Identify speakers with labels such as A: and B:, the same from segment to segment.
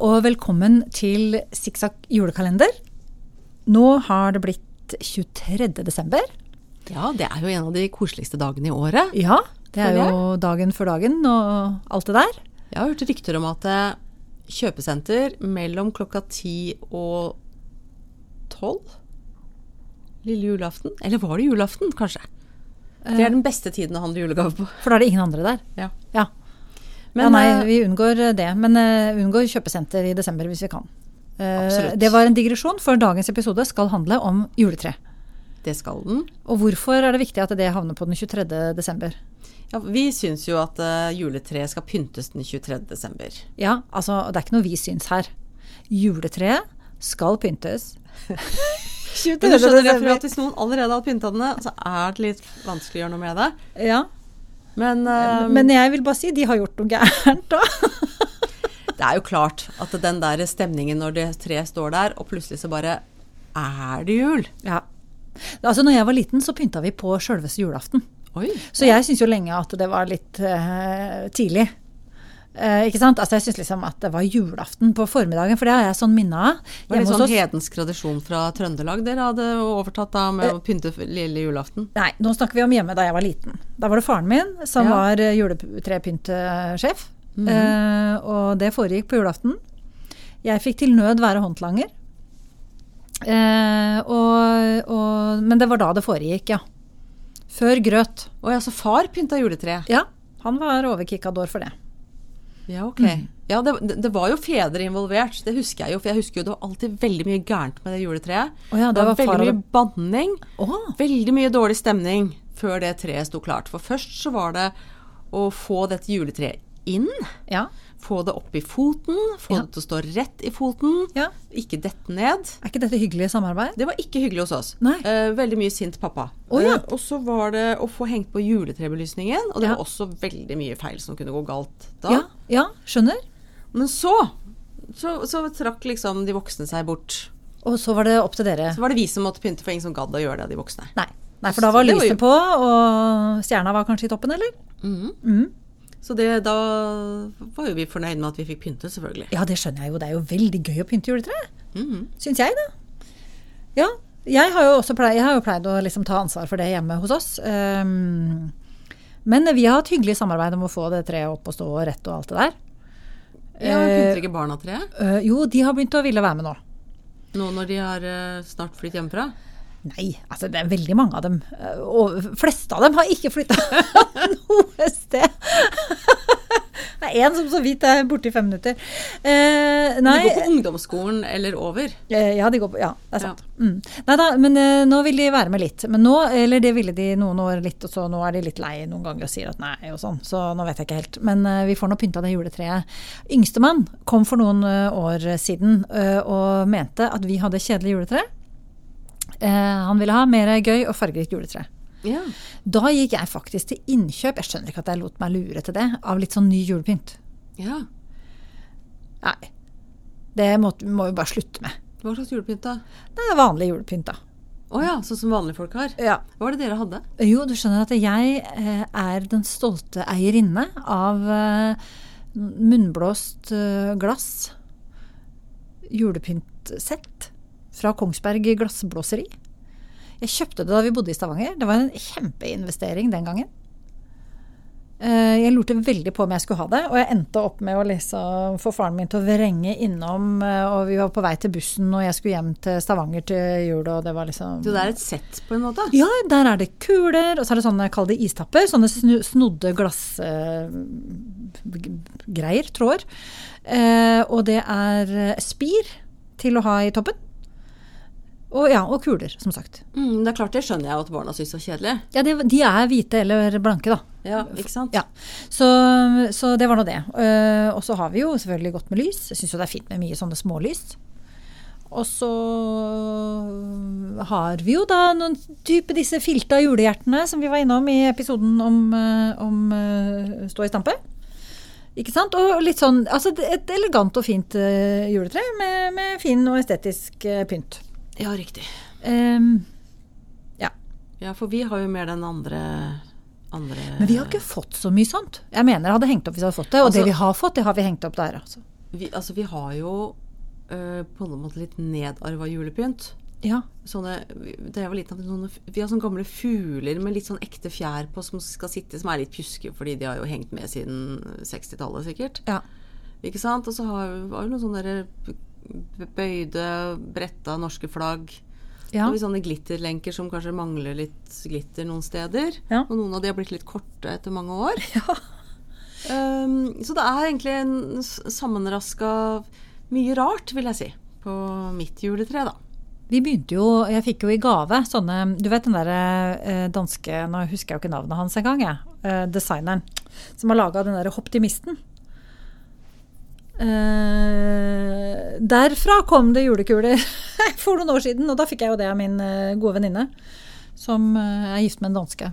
A: og velkommen til Sikksakk julekalender. Nå har det blitt 23. desember.
B: Ja, det er jo en av de koseligste dagene i året.
A: Ja, det er
B: Føler jeg.
A: jo dagen før dagen og alt det der.
B: Jeg har hørt rykter om at eh, kjøpesenter mellom klokka ti og tolv Lille julaften? Eller var det julaften, kanskje? Det
A: Eh.
B: er den beste tiden å handle julegave på.
A: For da er det ingen andre der.
B: Ja.
A: Ja,
B: Men
A: ja nei,
B: eh,
A: vi unngår det. Men eh, unngår kjøpesenter i desember hvis vi kan. Eh,
B: Absolutt.
A: Det var en digresjon, for dagens episode skal handle om juletre.
B: det skal den.
A: Og hvorfor er det viktig at det havner på den 23. desember?
B: Ja, vi syns jo at eh, juletreet skal pyntes den 23. desember.
A: Ja, altså, det er ikke noe vi syns her. Juletreet skal pyntes.
B: Men
A: 23.
B: du skjønner jeg tror at Hvis noen allerede har pynta denne, så er det litt vanskelig å gjøre noe med det.
A: Ja.
B: Men, eh,
A: Men jeg vil bare si de har gjort noe gærent da.
B: Det er jo klart at den der stemningen når det treet står der, og plutselig så bare Er det jul?
A: Ja. Altså, når jeg var liten, så pynta vi på sjølveste julaften.
B: Oi.
A: Så jeg syns jo lenge at det var litt eh, tidlig. Eh, ikke sant? Altså, jeg syns liksom at det var julaften på formiddagen, for det har jeg sånn minne av.
B: Var det
A: Hjemme hos
B: sånn
A: oss-
B: hedensk tradisjon fra Trøndelag dere hadde overtatt da
A: Eh.
B: med å pynte for lille julaften?
A: Nei, nå snakker vi om hjemme da jeg var liten. Da var det faren min som
B: Ja. Mhm.
A: var eh, juletrepyntesjef. eh, og det foregikk på julaften. Jeg fikk til nød være håndlanger. Eh, og, og, men det var da det foregikk, ja. Før grøt.
B: Å ja, så far pynta juletreet?
A: Ja, han var overkikador for det.
B: Ja, ok. Mm. Ja, det, det var jo fedre involvert, det husker jeg jo. For jeg husker jo det var alltid veldig mye gærent med det juletreet.
A: Å ja, det var far
B: veldig
A: og
B: mye banning.
A: Å.
B: Veldig mye dårlig stemning før det treet sto klart. For først så var det å få dette juletreet inn.
A: Ja.
B: Få det opp i foten, få
A: Ja.
B: det til å stå rett i foten,
A: Ja.
B: ikke dette ned.
A: Er ikke dette hyggelig samarbeid?
B: Det var ikke hyggelig hos oss.
A: Nei.
B: Eh, veldig mye sint pappa.
A: Å, ja.
B: Eh, og så var det å få hengt på juletrebelysningen, og det
A: Ja.
B: var også veldig mye feil som kunne gå galt da.
A: Ja, ja skjønner.
B: Men så, så, så trakk liksom de voksne seg bort.
A: Og så var det opp til dere.
B: Så var det vi som måtte pynte for ingen som gadd å gjøre det, de voksne.
A: Nei. Nei, for da var
B: Så det var
A: lyset på, og stjerna var kanskje i toppen, eller? Mm-hmm.
B: Så det, da var jo vi fornøyd med at vi fikk pynte, selvfølgelig.
A: Ja, det skjønner jeg jo. Det er jo veldig gøy å pynte juletre. Syns jeg, da. Ja. Jeg har jo også pleid, jeg har jo pleid å liksom ta ansvar for det hjemme hos oss. Ehm, men vi har hatt hyggelig samarbeid om å få det treet opp og stå og rett og alt det der.
B: Ja, Pynter ikke barna treet
A: Eh, jo, de har begynt å ville være med nå.
B: nå når de har eh, snart flyttet hjemmefra?
A: Nei, altså det er veldig mange av dem. eh, Og fleste av dem har ikke flytta noe sted. Det er én som så vidt er borte i fem minutter. Eh,
B: De
A: nei,
B: går på ungdomsskolen eller over.
A: Eh, Ja, de går på, ja, det er sant. Mm. Nei da, men eh, nå vil de være med litt. Men nå, eller det ville de noen år litt, og så nå er de litt lei noen ganger og sier at nei og sånn. Så nå vet jeg ikke helt. Men eh, vi får nå pynta det juletreet. Yngstemann kom for noen eh, år siden eh, og mente at vi hadde kjedelig juletre. Eh, han ville ha mer gøy og fargerikt juletre.
B: Ja.
A: Da gikk jeg faktisk til innkjøp, jeg skjønner ikke at jeg lot meg lure til det, av litt sånn ny julepynt.
B: ja.
A: Nei. Det må, må vi bare slutte med.
B: Hva slags julepynt, da?
A: Det er vanlig julepynt, da.
B: Å ja, sånn som vanlige folk har.
A: Ja.
B: Hva var det dere hadde?
A: Jo, du skjønner at jeg eh, er den stolte eierinne av eh, munnblåst eh, glass julepyntsett fra Kongsberg Glassblåseri. Jeg kjøpte det da vi bodde i Stavanger. Det var en kjempeinvestering den gangen. Eh, Jeg lurte veldig på om jeg skulle ha det, og jeg endte opp med å liksom få faren min til å vrenge innom. eh, Og vi var på vei til bussen, og jeg skulle hjem til Stavanger til jul, og det var liksom
B: Så det er et sett, på en måte?
A: ja, der er det kuler, og så er det sånne, kall det istapper, sånne snu, snodde glassgreier, tråder. Eh, og det er eh, spir til å ha i toppen. Og, ja, og kuler, som sagt.
B: Mm, det er klart, det skjønner jeg jo at barna syns var kjedelig.
A: Ja, det, De er hvite eller blanke, da.
B: Ja, ikke sant?
A: Ja. Så, så det var nå det. Eh, og så har vi jo selvfølgelig gått med lys. Jeg syns jo det er fint med mye sånne smålys. Og så har vi jo da noen type disse filta julehjertene som vi var innom i episoden om, eh, om eh, Stå i stampe. Ikke sant? Og litt sånn Altså det- et elegant og fint eh, juletre med, med fin og estetisk eh, pynt.
B: Ja, riktig.
A: Ehm, ja.
B: Ja, for vi har jo mer den andre, andre
A: Men vi har ikke fått så mye sånt. Jeg mener jeg hadde hengt opp hvis jeg hadde fått det. Og
B: Altså-
A: det vi har fått, det har vi hengt opp der, altså.
B: vi, altså, vi har jo eh, på en måte litt nedarva julepynt.
A: Ja.
B: Sånne, da jeg var liten, hadde vi sånne, vi har sånne gamle fugler med litt sånn ekte fjær på som skal sitte, som er litt pjuske, fordi de har jo hengt med siden 60-tallet sikkert.
A: ja.
B: Ikke sant? Og så har var det noen sånne der bøyde, bretta norske flagg.
A: Ja.
B: Og vi sånne glitterlenker som kanskje mangler litt glitter noen steder.
A: Ja.
B: Og noen av de har blitt litt korte etter mange år.
A: Ja.
B: Ehm, så det er egentlig en s- sammenraska mye rart, vil jeg si, på mitt juletre, da.
A: Vi begynte jo, jeg fikk jo i gave sånne Du vet den der eh, danske Nå husker jeg jo ikke navnet hans engang, jeg. Eh, designeren som har laga den derre Hoptimisten. Eh, derfra kom det julekuler for noen år siden, og da fikk jeg jo det av min eh, gode venninne som eh, er gift med en danske.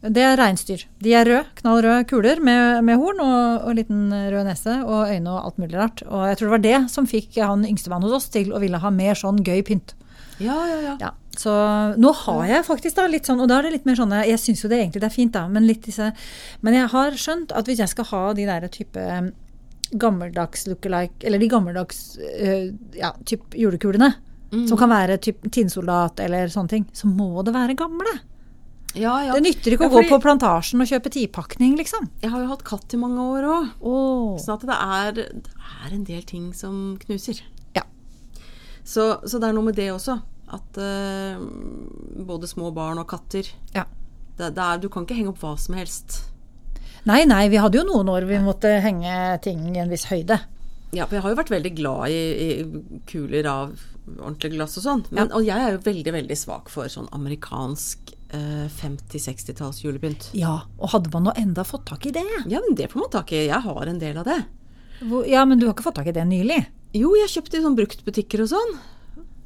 A: Det er reinsdyr. De er røde, knallrøde kuler med, med horn og, og liten rød nese og øyne og alt mulig rart. Og jeg tror det var det som fikk han yngstemann hos oss til å ville ha mer sånn gøy pynt.
B: Ja, ja, ja.
A: Ja, så nå har jeg faktisk da litt sånn, og da er det litt mer sånne Jeg syns jo det egentlig det er fint, da, men litt disse Men jeg har skjønt at hvis jeg skal ha de der type eh, gammeldags lookalike Eller de gammeldags øh, ja, typ julekulene, som kan være typ tinnsoldat eller sånne ting, så må det være gamle.
B: ja, ja.
A: Det nytter ikke
B: Ja,
A: å gå
B: fordi
A: på plantasjen og kjøpe tipakning, liksom.
B: Jeg har jo hatt katt i mange år òg.
A: Åh.
B: Sånn at det er, det er en del ting som knuser.
A: Ja.
B: Så, så det er noe med det også. At eh, både små barn og katter
A: Ja.
B: det, det er, Du kan ikke henge opp hva som helst.
A: Nei, nei, vi hadde jo noen år vi måtte henge ting i en viss høyde.
B: Ja, for jeg har jo vært veldig glad i, i kuler av ordentlig glass og sånn. Men, Og jeg er jo veldig, veldig svak for sånn amerikansk eh, 50-60-talls julepynt.
A: Ja, og hadde man nå enda fått tak i det?
B: Ja, men det får man tak i. Jeg har en del av det.
A: Hvor- Ja, men du har ikke fått tak i det nylig?
B: Jo, jeg kjøpte i sånn bruktbutikker og sånn.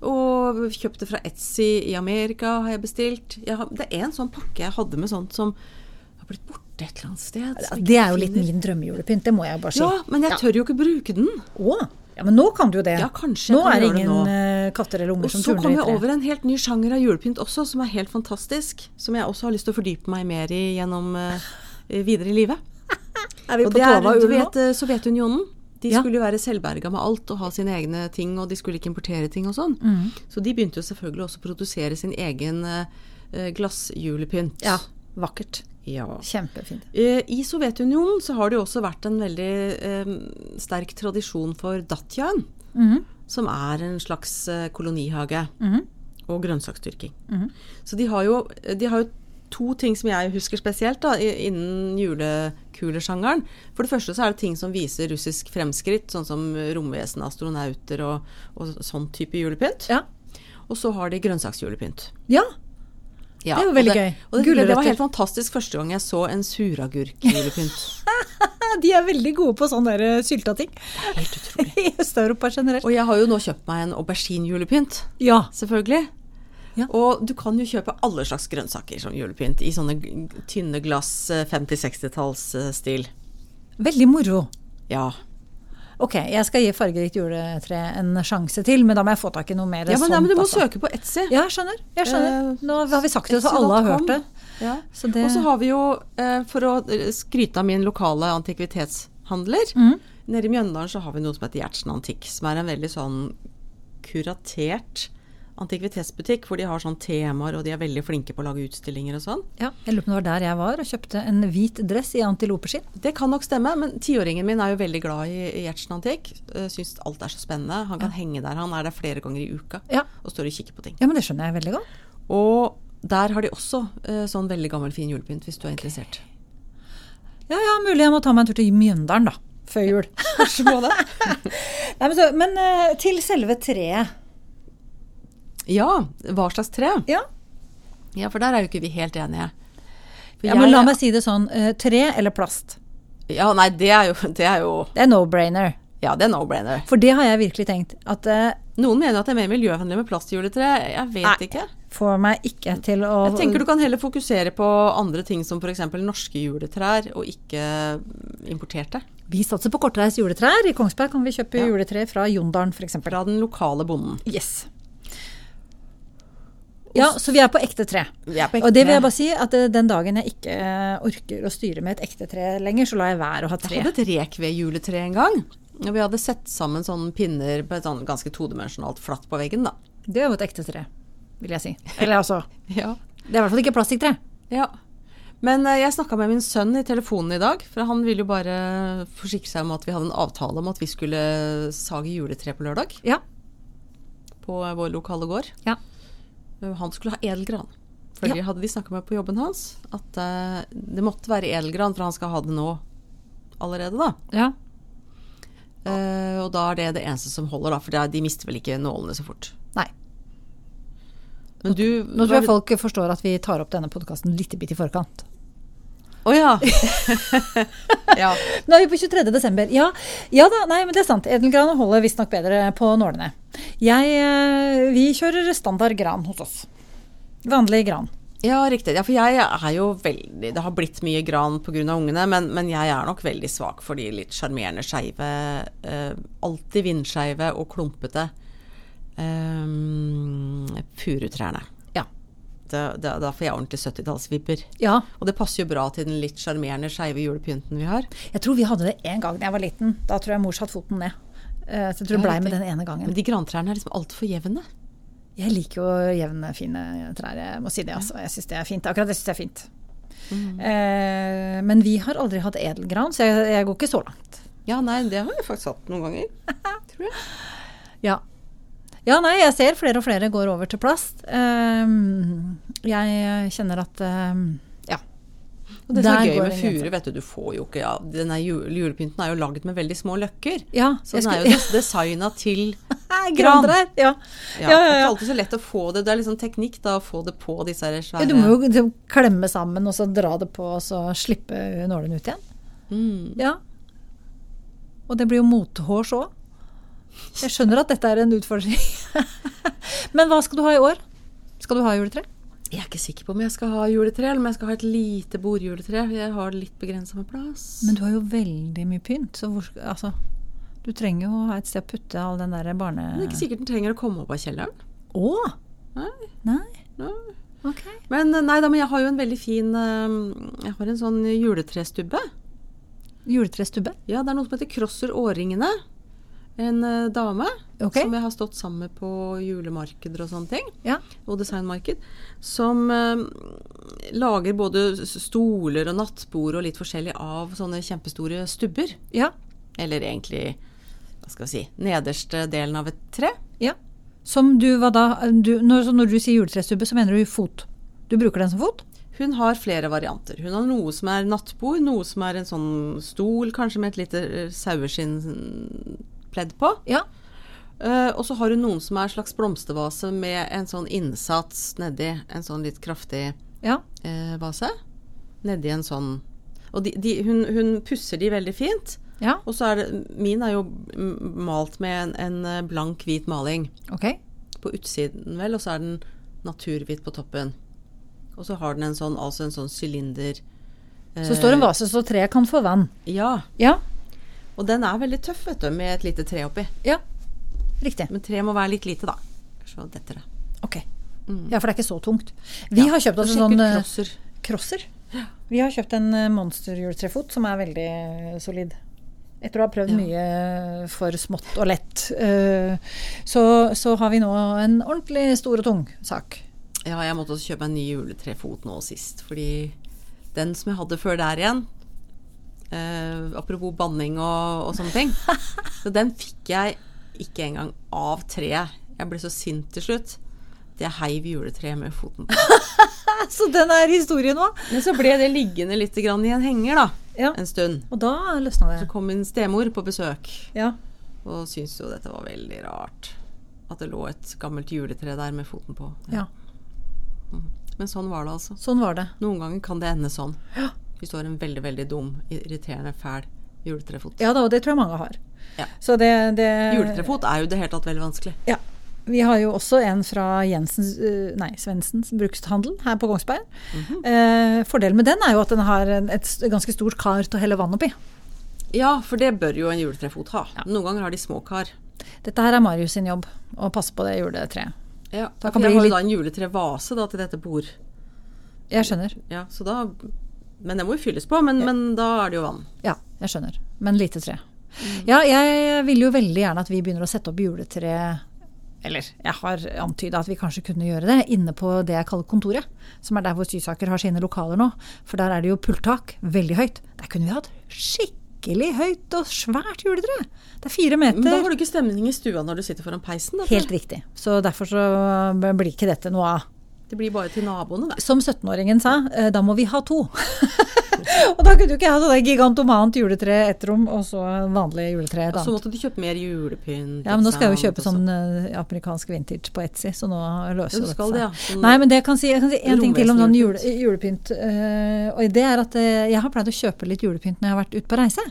B: Og kjøpte fra Etsy i Amerika, har jeg bestilt. Jeg har, det er en sånn pakke jeg hadde med sånt som har blitt borte et eller annet sted.
A: Ja,
B: som jeg
A: Det er
B: ikke
A: jo litt
B: finner.
A: min drømmejulepynt, det må jeg bare si.
B: Ja, men jeg tør jo ikke bruke den.
A: Å, ja, men nå kan du jo det.
B: Ja, kanskje jeg
A: nå
B: kan
A: er det
B: gjøre det
A: ingen
B: nå.
A: eh, katter eller unger
B: Og
A: som eh.
B: så
A: turner
B: kom
A: i
B: jeg
A: tre.
B: over en helt ny sjanger av julepynt også, som er helt fantastisk. Som jeg også har lyst til å fordype meg mer i gjennom eh, videre i livet.
A: Er vi
B: Og
A: på
B: det er,
A: Tova
B: du
A: ul nå?
B: vet, eh, Sovjetunionen. De
A: Ja.
B: skulle jo være selvberga med alt og ha sine egne ting, og de skulle ikke importere ting og sånn. Så de begynte jo selvfølgelig også å produsere sin egen eh, glassjulepynt.
A: Ja, vakkert.
B: Ja.
A: Kjempefint.
B: Eh, I Sovjetunionen så har det jo også vært en veldig eh, sterk tradisjon for datjaen,
A: Mhm,
B: som er en slags eh, kolonihage. Og grønnsaksdyrking. Så de har, jo, de har jo to ting som jeg husker spesielt da, i- innen julekulesjangeren. For det første så er det ting som viser russisk fremskritt, sånn som romvesen, astronauter og, og sånn type julepynt.
A: Ja.
B: Og så har de grønnsaksjulepynt.
A: ja.
B: Ja,
A: Det er jo
B: og
A: veldig gøy.
B: Og det, det var
A: Gulrøtter.
B: helt fantastisk første gang jeg så en suragurkjulepynt.
A: eh, De er veldig gode på sånne der eh, sylta ting.
B: Helt utrolig.
A: I Øst-Europa generelt.
B: Og jeg har jo nå kjøpt meg en aubergine-julepynt,
A: Ja.
B: selvfølgelig.
A: Ja.
B: Og du kan jo kjøpe alle slags grønnsaker som julepynt, i sånne g- tynne glass, eh, 50-60-tallsstil.
A: Veldig moro.
B: Ja.
A: Ok, jeg skal gi fargerikt juletre en sjanse til, men da må jeg få tak i noe mer
B: ja, men, ja, men
A: sånt,
B: du må
A: altså.
B: søke på Etsy.
A: Ja, jeg skjønner. Jeg skjønner.
B: Eh,
A: Nå har vi sagt det, så alle har hørt det.
B: Ja.
A: Så det-
B: Og så har vi jo, eh, for å eh, skryte av min lokale antikvitetshandler,
A: Mm.
B: nede i Mjøndalen så har vi noe som heter Gjertsen Antikk, som er en veldig sånn kuratert antikvitetsbutikk, hvor de har sånn temaer, og de er veldig flinke på å lage utstillinger og sånn.
A: Ja, jeg lurer på om det var der jeg var og kjøpte en hvit dress i antilopeskinn.
B: Det kan nok stemme, men tiåringen min er jo veldig glad i i Gjertsen Antikk. eh, Syns alt er så spennende. Han kan henge der. Han er der flere ganger i uka
A: Ja.
B: og står og kikker på ting.
A: Ja, men det skjønner jeg veldig godt.
B: Og der har de også eh, sånn veldig gammel, fin julepynt, hvis du er interessert.
A: Ja, ja, mulig jeg må ta meg en tur til Mjøndalen, da. Før jul. Kanskje må det. Nei, men, så, men eh, til selve treet.
B: Ja, hva slags tre?
A: Ja,
B: Ja, for der er jo ikke vi helt enige. For
A: men
B: jeg-
A: La meg si det sånn. eh, tre eller plast?
B: Ja, nei, det er jo, det er jo
A: Det er no-brainer.
B: Ja, det er no-brainer.
A: For det har jeg virkelig tenkt. At eh, det
B: Noen mener at det er mer miljøvennlig med plastjuletre. Jeg vet
A: Nei.
B: ikke.
A: får meg ikke til å
B: Jeg tenker du kan heller fokusere på andre ting som f.eks. norske juletrær, og ikke importerte.
A: Vi satser på kortreist juletrær. I Kongsberg kan vi kjøpe
B: Ja.
A: juletre fra Jondalen f.eks.
B: Fra den lokale bonden.
A: Yes. Ja, så vi er på ekte tre.
B: Vi er på ekte
A: Og det vil
B: tre.
A: jeg bare si at eh, den dagen jeg ikke eh, orker å styre med et ekte tre lenger, så lar jeg være å ha
B: Jeg
A: tre.
B: hadde et rekvedjuletre en gang. Ja, Vi hadde sett sammen sånne pinner på et sånn ganske todimensjonalt flatt på veggen, da.
A: Det er jo et ekte tre, vil jeg si. Eller altså,
B: Ja.
A: det er i hvert fall ikke plastikktre.
B: Ja. Men eh, jeg snakka med min sønn i telefonen i dag, for han ville jo bare forsikre seg om at vi hadde en avtale om at vi skulle sage juletre på lørdag
A: Ja.
B: på eh, vår lokale gård.
A: Ja.
B: Eh, Han skulle ha edelgran. For
A: Ja.
B: det hadde de snakka med på jobben hans, at eh, det måtte være edelgran, for han skal ha det nå allerede, da.
A: ja.
B: Eh, og da er det det eneste som holder, da, for det er, de mister vel ikke nålene så fort.
A: Nei.
B: Men du
A: Nå tror jeg folk forstår at vi tar opp denne podkasten litt i forkant.
B: Å ja. ja.
A: Nå er vi på 23. desember. Ja, ja da, nei, men det er sant. Edelgranen holder visstnok bedre på nålene. Jeg, eh, vi kjører standard gran hos oss. Vanlig gran.
B: Ja, riktig. Ja, for jeg er jo veldig Det har blitt mye gran pga. ungene, men, men jeg er nok veldig svak for de litt sjarmerende skeive. Eh, alltid vindskeive og klumpete eh, furutrærne.
A: Ja.
B: Da, da, da får jeg ordentlig 70-tallsvibber.
A: ja.
B: Og det passer jo bra til den litt sjarmerende skeive julepynten vi har.
A: Jeg tror vi hadde det én gang da jeg var liten. Da tror jeg mor satte foten ned. Eh, Så jeg tror det blei med den ene gangen.
B: Men de grantrærne er liksom altfor jevne.
A: Jeg liker jo jevne, fine trær. Jeg må si det, altså. Jeg syns det er fint. Akkurat det syns jeg er fint. Mm. Eh, Men vi har aldri hatt edelgran, så jeg, jeg går ikke så langt.
B: Ja, nei, det har jeg faktisk hatt noen ganger. Tror jeg.
A: Ja. ja, nei, jeg ser flere og flere går over til plast. Ehm, jeg kjenner at ehm, ja.
B: Og det som
A: Der
B: er gøy
A: går det
B: med
A: en
B: furu, vet du, du får jo ikke ja, Denne jule, julepynten er jo laget med veldig små løkker.
A: ja
B: Så
A: jeg
B: den er
A: skulle-
B: jo designa til gran.
A: Grantrær. Ja.
B: ja,
A: Ja, ja,
B: Det er
A: ja.
B: ikke alltid så lett å få det. Det er liksom teknikk da, å få det på disse
A: Ja,
B: her svære
A: Du må jo liksom klemme sammen og så dra det på og så slippe nålen ut igjen.
B: mm.
A: Ja. Og det blir jo mothårs òg. Jeg skjønner at dette er en utfordring. Men hva skal du ha i år? Skal du ha juletre?
B: Jeg er ikke sikker på om jeg skal ha juletre, eller om jeg skal ha et lite bordjuletre. Jeg har litt begrensa med plass.
A: Men du har jo veldig mye pynt, så hvor sk- Altså. Du trenger jo ha et sted å putte all den derre barne...
B: det er ikke sikkert den trenger å komme opp av kjelleren.
A: Å!
B: Nei,
A: Nei.
B: nei.
A: Ok.
B: Men eh, nei da, men jeg har jo en veldig fin eh, Jeg har en sånn juletrestubbe.
A: Juletrestubbe?
B: Ja, det er noe som heter Crosser Årringene. En eh, dame
A: Ok.
B: som jeg har stått sammen med på julemarkeder og sånne ting.
A: Ja.
B: Og designmarked. Som eh, lager både s- stoler og nattbord og litt forskjellig av sånne kjempestore stubber.
A: Ja.
B: Eller egentlig, hva skal vi si, nederste delen av et tre.
A: ja. Som du var da du, når, så når du sier juletrestubbe, så mener du fot? Du bruker den som fot?
B: Hun har flere varianter. Hun har noe som er nattbord, noe som er en sånn stol, kanskje med et lite eh, saueskinnpledd på.
A: Ja.
B: Eh, og så har hun noen som er en slags blomstervase med en sånn innsats nedi. En sånn litt kraftig
A: Ja.
B: eh, vase. Nedi en sånn Og de, de, hun, hun pusser de veldig fint.
A: Ja.
B: Og så er det Min er jo m- malt med en, en eh, blank, hvit maling
A: Ok.
B: på utsiden, vel, og så er den naturhvit på toppen. Og så har den en sånn, altså en sånn sylinder eh,
A: Så står en vase så treet kan få vann.
B: Ja.
A: Ja.
B: Og den er veldig tøff, vet du, med et lite tre oppi.
A: Ja. Riktig.
B: Men treet må være litt lite, da. Så detter det.
A: Ok.
B: Mm.
A: Ja, for det er ikke så tungt. Vi har kjøpt oss en
B: Sjekk
A: sånn
B: ut
A: eh,
B: crosser.
A: crosser. Vi har kjøpt en eh, monster juletrefot som er veldig eh, solid. Etter å ha prøvd mye eh, for smått og lett, eh, så, så har vi nå en ordentlig stor og tung sak.
B: Ja, jeg måtte også kjøpe en ny juletrefot nå sist, fordi den som jeg hadde før der igjen eh, Apropos banning og, og sånne ting. Så den fikk jeg ikke engang av treet. Jeg ble så sint til slutt. Det heiv juletreet med foten. på.
A: Så den er historien nå.
B: Men så ble det liggende litt grann i en henger da,
A: Ja.
B: en stund.
A: Og da løsna det.
B: Så kom min stemor på besøk
A: Ja.
B: og syntes jo dette var veldig rart. At det lå et gammelt juletre der med foten på.
A: ja.
B: Men sånn var det altså.
A: Sånn var det.
B: Noen ganger kan det ende sånn. Vi står en veldig, veldig dum, irriterende, fæl juletrefot.
A: Ja da, og det tror jeg mange har.
B: Ja.
A: Så det, det
B: Eh. Juletrefot er jo i det hele tatt veldig vanskelig.
A: Ja. Vi har jo også en fra Jensens, eh, nei, Svendsens brukshandel her på Kongsberg. eh, fordelen med den er jo at den har en, et s- ganske stort kar til å helle vann oppi.
B: Ja, for det bør jo en juletrefot ha. Noen ganger har de små kar.
A: Dette her er Marius sin jobb, å passe på det juletreet.
B: Ja,
A: Da
B: for
A: kan
B: jeg
A: bli
B: har jo
A: litt-
B: da en juletrevase da, til dette bord.
A: Jeg skjønner.
B: Ja, så da, men det må jo fylles på, men, men da er det jo vann.
A: Ja, jeg skjønner. Men lite tre. Ja, jeg ville jo veldig gjerne at vi begynner å sette opp juletre Eller jeg har antyda at vi kanskje kunne gjøre det inne på det jeg kaller kontoret. Som er der hvor Sysaker har sine lokaler nå. For der er det jo pulttak. Veldig høyt. Der kunne vi hatt skikkelig høyt og svært juletre. Det er fire
B: Men da
A: meter.
B: har du ikke stemning i stua når du sitter foran peisen. Da.
A: Helt riktig. Så derfor så blir ikke dette noe av.
B: Det blir bare til naboene, da.
A: Som 17-åringen sa, eh, da må vi ha to. og da kunne du ikke ha sånn der gigantomant juletre ett rom, og så vanlig juletre et
B: Og så
A: annet.
B: måtte du kjøpe mer julepynt.
A: Ja, men nå
B: ikke
A: skal jeg jo
B: sant,
A: kjøpe
B: og så-
A: sånn eh, amerikansk vintage på Etsy, så nå
B: Ja,
A: løser jo
B: du
A: dette
B: skal det, ja.
A: seg.
B: Sånn-
A: Nei, men det jeg kan si, jeg kan si en ting til om sånn jule,
B: Romvesenjulepynt.
A: julepynt. eh, og det er at eh, jeg har pleid å kjøpe litt julepynt når jeg har vært ute på reise.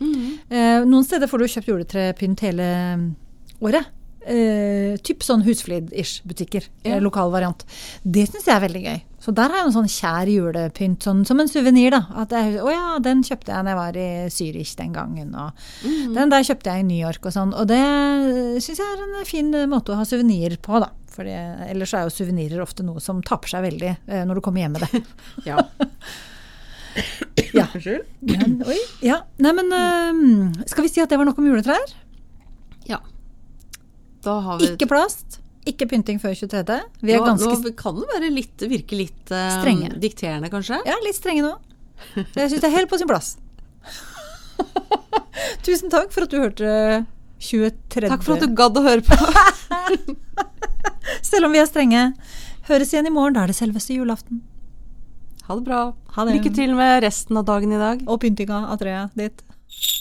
B: Mhm.
A: Eh, noen steder får du jo kjøpt juletrepynt hele mm, året. Eh, typ sånn husflid-ish butikker.
B: Ja.
A: eh, Lokal variant. Det syns jeg er veldig gøy. Så der har jeg en sånn kjær julepynt, sånn, som en suvenir. da. At jeg, å ja, den kjøpte jeg da jeg var i Zürich den gangen. Og Den der kjøpte jeg i New York og sånn. Og det syns jeg er en fin eh, måte å ha suvenirer på, da. For det- ellers er jo suvenirer ofte noe som taper seg veldig eh, når du kommer hjem med det.
B: Ja.
A: Ja.
B: Unnskyld?
A: Men, oi, ja. Nei, men eh, skal vi si at det var nok om juletrær?
B: Ja. Da har vi
A: Ikke plast, ikke pynting før 23. Vi er
B: nå,
A: ganske
B: nå kan det være litt, virke litt eh,
A: Strenge.
B: dikterende, kanskje.
A: ja, litt strenge nå. Så Jeg syns det er helt på sin plass. Tusen takk for at du hørte 23.
B: Takk for at du gadd å høre på.
A: Selv om vi er strenge. Høres igjen i morgen. Da er det selveste julaften.
B: Ha det bra.
A: Ha det.
B: Lykke til med resten av dagen i dag.
A: Og pyntinga av treet ditt.